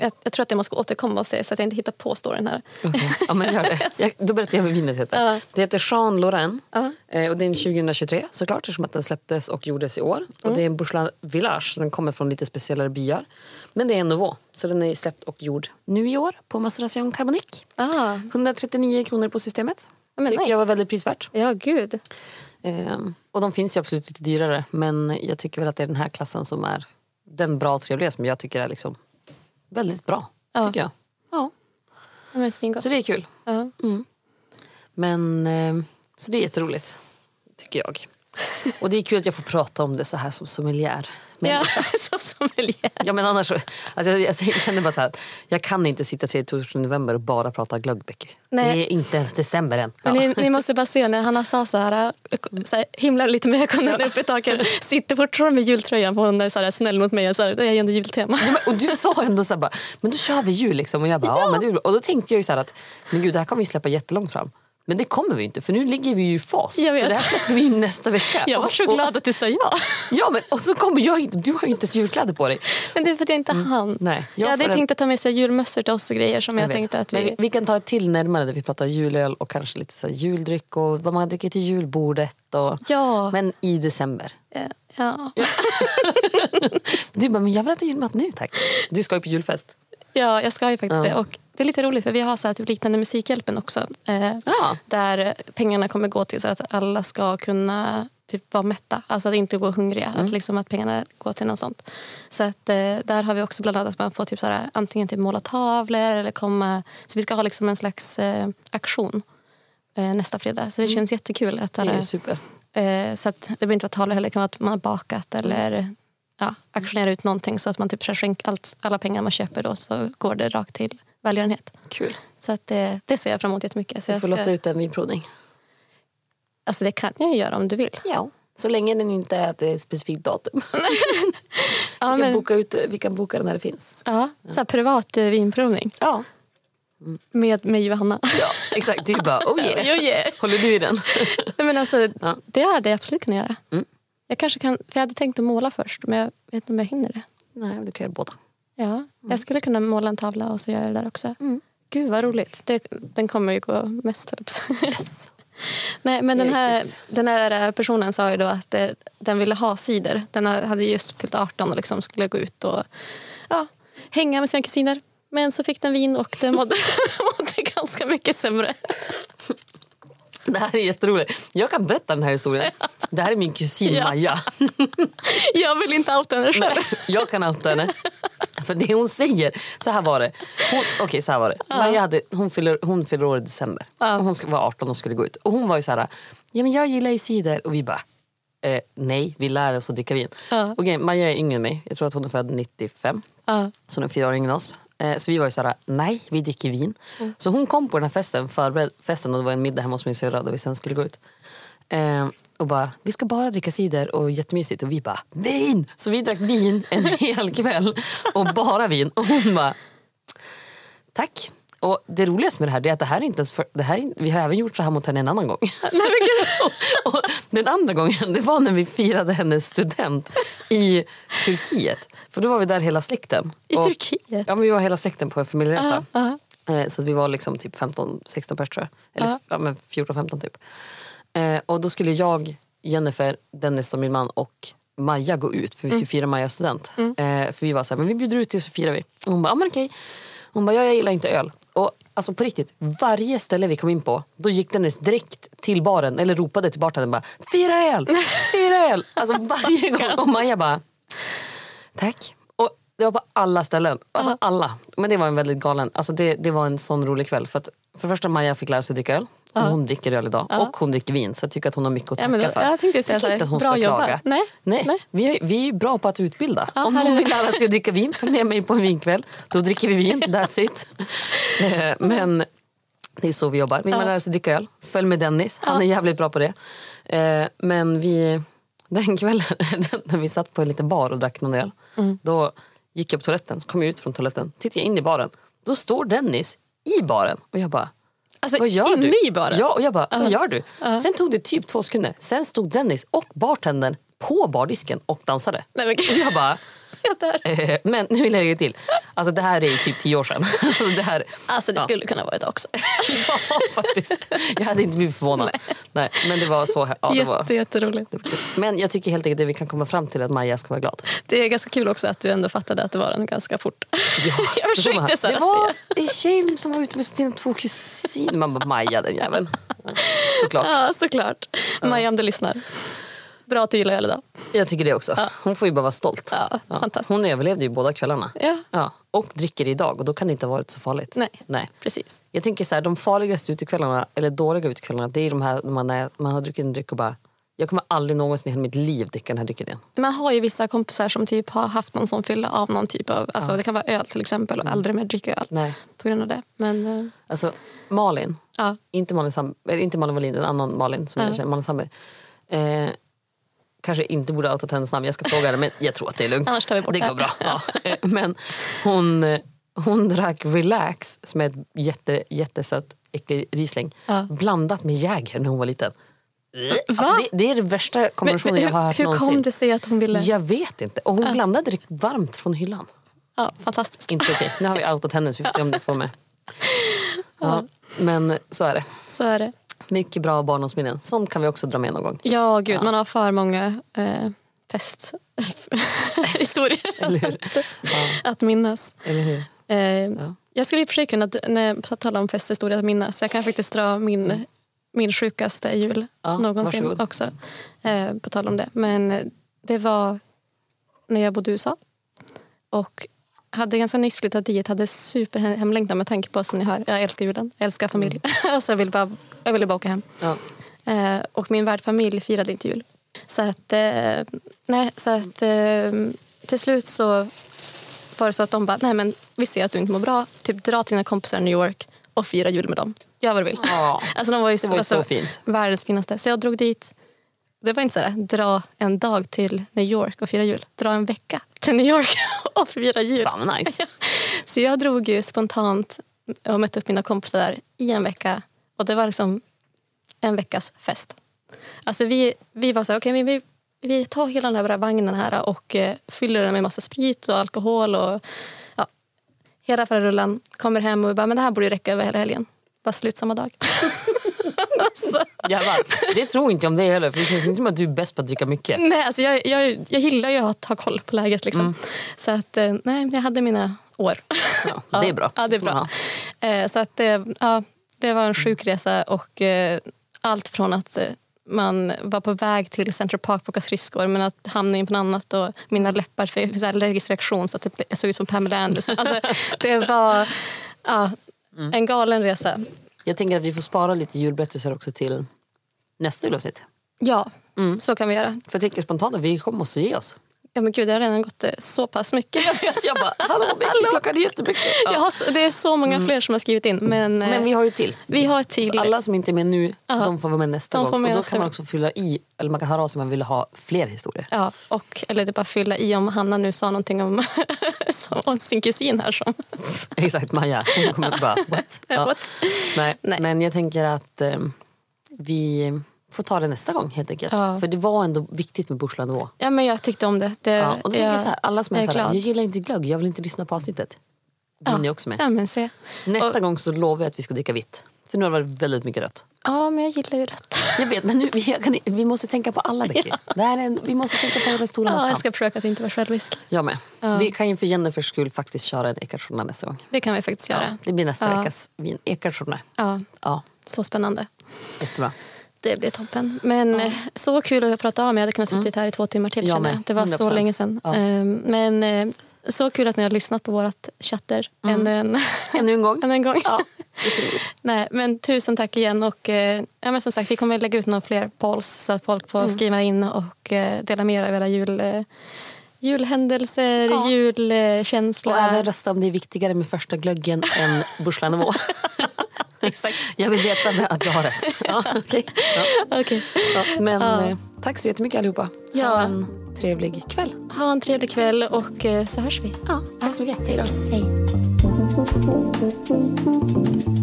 Jag, jag tror att jag måste återkomma och säga så att jag inte hittar på storyn här. Okej, Ja, men gör det. Jag, då berättar jag vad vinet heter. Ja. Det heter Jean Lorraine. Ja. Eh, Och det är en 2023 såklart eftersom att den släpptes och gjordes i år. Mm. Och det är en Bourgelais Village så den kommer från lite speciellare byar. Men det är en Nouveau så den är släppt och gjord nu i år på Maceration Carbonic. Ah, 139 kronor på systemet. Ja, men Tycker nice. jag var väldigt prisvärt. ja, gud. Ehm, och de finns ju absolut lite dyrare men jag tycker väl att det är den här klassen som är den bra och trevliga som jag tycker är liksom väldigt bra. Ja. Tycker jag. Ja. Ja, men svingott. Så Mm. det är kul. Ja. Men, eh, så det är jätteroligt, tycker jag. Och det är kul att jag får prata om det så här som sommelier. Men, ja. Ja, som sommelier. men annars så, alltså jag, jag känner bara så här, att jag kan inte sitta 3 november och bara prata glöggbäck. Det Nej. är inte ens december än. Ja. Men ni, ni måste bara se när Hanna sa så här, äh, så här himlar lite med ögonen upp i taket, sitter fortfarande med jultröjan på hon är så här snäll mot mig och så här, det är ju ändå jultema. Ja, men- Och du sa ändå så här, bara, men då kör vi jul liksom. Och jag bara, ja. men det är bra. Och då tänkte jag ju så här att, men gud det här kommer vi släppa jättelångt fram. Men det kommer vi ju inte för nu ligger vi ju i fas. Jag Så vet. det här släpper vi ju nästa vecka. Jag var Och- så glad att du sa ja. Och, ja men och så kommer jag inte, du har ju inte ens julkläder på dig. Men det är för att jag inte hann. Mm. Nej, jag jag hade får en- tänkt att ta med sig julmössor till oss och grejer som jag, vet. tänkte att Men vi... vi kan ta ett till närmare där vi pratar julöl och kanske lite så här juldryck och vad man dricker till julbordet. Och, Ja. Men i december. eh, ja. Du bara, men jag vill äta julmat nu tack. Du ska ju på julfest. ja, jag ska ju faktiskt det. Och det är lite roligt för vi har så här typ liknande Musikhjälpen också. Eh, Ja. Där pengarna kommer gå till så att alla ska kunna typ vara mätta, alltså att inte gå hungriga. Mm. Att, liksom att pengarna går till något sånt. Så att, eh, där har vi också bland annat att man får typ så här, antingen typ måla tavlor eller komma... Så vi ska ha liksom en slags eh, aktion eh, nästa fredag. Så det känns jättekul. Att, Mm. Det är alla- ju super. Eh, så att det behöver inte vara tavlor heller, det kan vara att man har bakat Mm. eller ja, auktionera ut någonting så att man typ så här skänk, allt, alla pengar man köper då så går det rakt till välgörenhet. Kul. Så att det, det ser jag fram emot jättemycket. Så Du jag får ska, låta ut en vinprovning. alltså det kan jag ju göra om du vill. Ja. Så länge den inte är att det är ett specifikt datum. Ja, vi, kan men, boka ut, vi kan boka den när det finns. ja, så här privat eh, vinprovning Ja, med, med Johanna. ja exakt. Du bara, oh yeah. Jo, yeah. Håller du i den? Nej, men alltså, Ja. Mm. Det hade jag absolut kunnat göra. Jag kanske kan, för jag hade tänkt att måla först men jag vet inte om jag hinner det. Nej, du kan göra båda. Ja, Mm. Jag skulle kunna måla en tavla och så göra det där också. Gud vad roligt. Det, den kommer ju gå mest. höll jag på att säga. Nej, men Det är den här, den här eh, personen sa ju då att eh, den ville ha cider. Den hade just fyllt 18 och liksom skulle gå ut och ja, hänga med sina kusiner. Men så fick den vin och den mådde, mådde ganska mycket sämre. Det här är jätteroligt. Jag kan berätta den här historien. Det här är min kusin Ja. Maja. Jag vill inte outa henne själv. Jag kan outa henne. För det hon säger, så här var det. Hon, okej, så här var det. Maja hade, hon, fyller, hon fyller år i december. Och hon sk- var 18 och skulle gå ut. Och hon var ju så här, ja, men jag gillar ju cider. Och vi bara, eh, nej, vi lär oss att dricka vin. Ja. Och grejen, Maja är yngre än mig. Jag tror att hon är född 95. Ja. Så hon är fyra år yngre än oss. Eh, Så vi var ju såhär, nej vi dricker vin. Mm. Så hon kom på den här festen, förbered festen och det var en middag hemma hos min syrra där vi sen skulle gå ut. Eh, och bara, vi ska bara dricka cider och jättemysigt. Och vi bara, vin! Så vi drack vin en hel kväll och bara vin. Och hon bara, tack. Och det roligaste med det här det är att det här är inte ens för, det här är, vi har även gjort så här mot henne en annan gång. och, och den andra gången det var när vi firade hennes student i Turkiet. För då var vi där hela släkten. I och, Turkiet? Ja, men vi var hela släkten på en familjeresa. Ja, ja. Eh, Så att vi var liksom typ 15-16 pers tror jag. Eller Ja. ja, men 14-15 typ. Eh, och då skulle jag, Jennifer, Dennis och min man och Maja gå ut för vi Mm. skulle fira Majas student. Eh, för vi var så här, men vi bjuder ut dig så firar vi. Och hon bara, ja men okej. Hon bara, ja, jag gillar inte öl. Och alltså på riktigt, varje ställe vi kom in på då gick Dennis direkt till baren eller ropade till bartendern bara, fira öl! Fira öl! Alltså varje gång. Och Maja bara, Tack. Och det var på alla ställen. Alltså alla. Men det var en väldigt galen. Alltså det, det var en sån rolig kväll. För, att, för det första Maja fick lära sig att dricka öl. Och Hon dricker öl idag. Och hon dricker vin. Så jag tycker att hon har mycket att Ja, tacka men för. jag tänkte säga tycker så här, inte att hon bra ska jobbat. klaga. Nej, Nej. nej. Vi, är, vi är bra på att utbilda. Om här någon är vill lära sig att dricka vin, följ med mig på en vinkväll. Då dricker vi vin. That's it. Eh, Men det är så vi jobbar. Vill man lära sig att dricka öl, följ med Dennis. Han är jävligt bra på det. Eh, Men vi, den kvällen när vi satt på en liten bar och drack någon öl. Mm. Då gick jag på toaletten, så kom jag ut från toaletten. Tittade jag in i baren. Då står Dennis i baren. Och jag bara, Alltså, vad gör inne du? i baren? Ja, och jag bara, vad gör du? Sen tog det typ två sekunder. Sen stod Dennis och bartendern på bardisken och dansade. Nej, men Och gud. jag bara, jag dör. eh, men nu vill jag lägga till. Alltså det här är ju typ tio år sedan. Alltså, det här, Alltså det ja. skulle kunna vara idag också. ja, faktiskt. Jag hade inte blivit förvånad. Nej. men det var så här. Ja, det var, Jätte, jätteroligt. det var kul. Men jag tycker helt enkelt att vi kan komma fram till att Maja ska vara glad. Det är ganska kul också att du ändå fattade att det var den ganska fort. jag Så de försökte här, så här det var säga. en tjej som var ute med sina två kusiner. Man bara, Maja den jäveln. Såklart. Ja, såklart. Maja, om du lyssnar. Bra att du gillar öl idag. Jag tycker det också. Hon får ju bara vara stolt. Ja, fantastiskt. Hon överlevde ju båda kvällarna. Ja. Och dricker idag och då kan det inte ha varit så farligt. Nej. Nej. Precis. Jag tänker så här, de farligaste utekvällarna, eller dåliga utekvällarna, det är de här när man, är, man har druckit en dryck och bara jag kommer aldrig någonsin i hela mitt liv dricka den här drycken igen. Man har ju vissa kompisar som typ har haft någon sån fylla av någon typ av... Alltså Det kan vara öl till exempel och aldrig mer dricka öl Mm. Nej. på grund av det. Men eh, Alltså Malin, ja, inte Malin, Sam, eller inte Malin Wallin, en annan Malin som jag känner, Malin Sandberg. Eh, kanske inte borde ha outat hennes namn, jag ska fråga henne men jag tror att det är lugnt. Annars tar vi bort det. det. går bra. Ja. Eh, men hon, eh, hon drack Relax som är ett jätte, jättesött äcklig Riesling Ja. blandat med Jäger när hon var liten. Alltså, Va? det, det är den värsta men, kombinationen men, jag har hur, hört hur någonsin. kom det sig att hon ville... Ja, Jag vet inte. Och hon blandade det varmt från hyllan. fantastiskt. Inte okej. Nu har vi outat henne så vi får se om det får med. Ja, men så är det. Så är det. Mycket bra barndomsminnen. Sånt kan vi också dra med någon gång. Ja, gud. Man har för många eh, festhistorier Eller hur? att minnas. Eller hur? Eh, Jag skulle i och för sig kunna, d- när jag talar om festhistoria, att minnas. Jag kan faktiskt dra min, min sjukaste jul Mm. Ja, någonsin varsågod. också. Eh, på tal om det. Men eh, det var när jag bodde i USA. Och hade ganska nyss flyttat dit, hade superhemlängtan med tanke på som ni hör. Jag älskar julen, jag älskar familj. Mm. alltså jag, ville bara, jag ville bara åka hem. Ja. Eh, och min värdfamilj firade inte jul. Så att, eh, nej, så att eh, till slut så var det så att de bara, nej men vi ser att du inte mår bra. Typ dra till dina kompisar i New York och fira jul med dem. Gör vad du vill. Ja. Alltså de var ju, Det var ju alltså, så fint. Världens finaste. Så jag drog dit. Det var inte så här, dra en dag till New York och fira jul. Dra en vecka till New York och fira jul. Fan vad nice. Så jag drog ju spontant och mötte upp mina kompisar där i en vecka. Och det var liksom en veckas fest. Alltså vi, vi var så här, okej men vi, vi tar hela den här bra vagnen här och eh, fyller den med massa sprit och alkohol och ja, hela förra rullan. Kommer hem och vi bara, men det här borde ju räcka över hela helgen. Bara slut samma dag. alltså, Jävlar. Det tror inte jag om dig heller. För det känns inte som att du är bäst på att dricka mycket. nej, alltså jag, jag, jag gillar ju att ha koll på läget liksom. Så att, eh, nej, jag hade mina år. Ja, det är bra. Ja, det är Så, ja. bra. Eh, Så att det, ja, det var en sjuk resa och eh, allt från att eh, man var på väg till Central Park på skridskor men att hamna in på något annat och mina läppar fick så här allergisk reaktion så att det ble- jag såg ut som Pamela Anderson. Alltså, det var ja, Mm. en galen resa. Jag tänker att vi får spara lite julberättelser också till nästa julavsnitt. Ja, så kan vi göra. Mm. För jag tänker spontant att vi kommer måste ge oss. Ja men gud, jag har redan gått eh, så pass mycket. Jag bara, hallå Becky, klockan är jättemycket. Ja. Jag har, s- det är så många fler som har skrivit in. Men, eh, Mm. Men vi har ju till. vi har ett till. Så alla som inte är med nu, Ja. de får vara med nästa De gång. får med och då nästa kan man gång. också fylla i, eller man kan höra av sig om man vill ha fler historier. Ja, och, eller det är bara att fylla i om Hanna nu sa någonting om, som, om sin kusin här. Som, Exakt, Maja. Hon kommer bara, what? Ja. What? Nej. Nej. Men jag tänker att eh, vi får ta det nästa gång helt enkelt. Ja. För det var ändå viktigt med Bursla Nivå. ja, men jag tyckte om det. det Ja, och då tänker jag så här, alla som är, jag så här, glad. jag gillar inte glögg, jag vill inte lyssna på avsnittet. Det är ni också med. Ja, men se. Nästa gång så lovar jag att vi ska dricka vitt. För nu har det varit väldigt mycket rött. Ja, men jag gillar ju rätt. Jag vet, men nu, vi, kan, vi måste tänka på alla Becky. Det här är en, vi måste tänka på den stora Ja, massan. jag ska försöka att inte vara självisk. Jag med. Vi kan ju för Jennifers skull faktiskt köra en Ekardsjourna nästa gång. Det kan vi faktiskt göra. Det blir nästa Ja. veckas vin. Ekardsjourna. Ja, Ja, så spännande. jättebra. Det blir toppen. Men eh, så kul att prata om. Jag hade kunnat suttit Mm. här i två timmar till. Jag känner med. Det var så 100%. länge sedan. Ja. Eh, Men eh, så kul att ni har lyssnat på vårat chatter Mm. ännu en, Ännu en gång. ännu en gång. Nej, men tusen tack igen. Och, eh, ja, men som sagt, vi kommer lägga ut några fler polls så att folk Mm. får skriva in och eh, dela med er av era jul, eh, julhändelser, Ja. julkänsla. Och även rösta om det är viktigare med första glöggen än Burslanivå. Exakt. Jag vill veta med att jag har rätt. Ja, okej. ja. Okej. Ja, men Ja. eh, tack så jättemycket allihopa. Ja. Ha en trevlig kväll. Ha en trevlig kväll och eh, så hörs vi. Ja, tack så mycket. Hej då. Hej.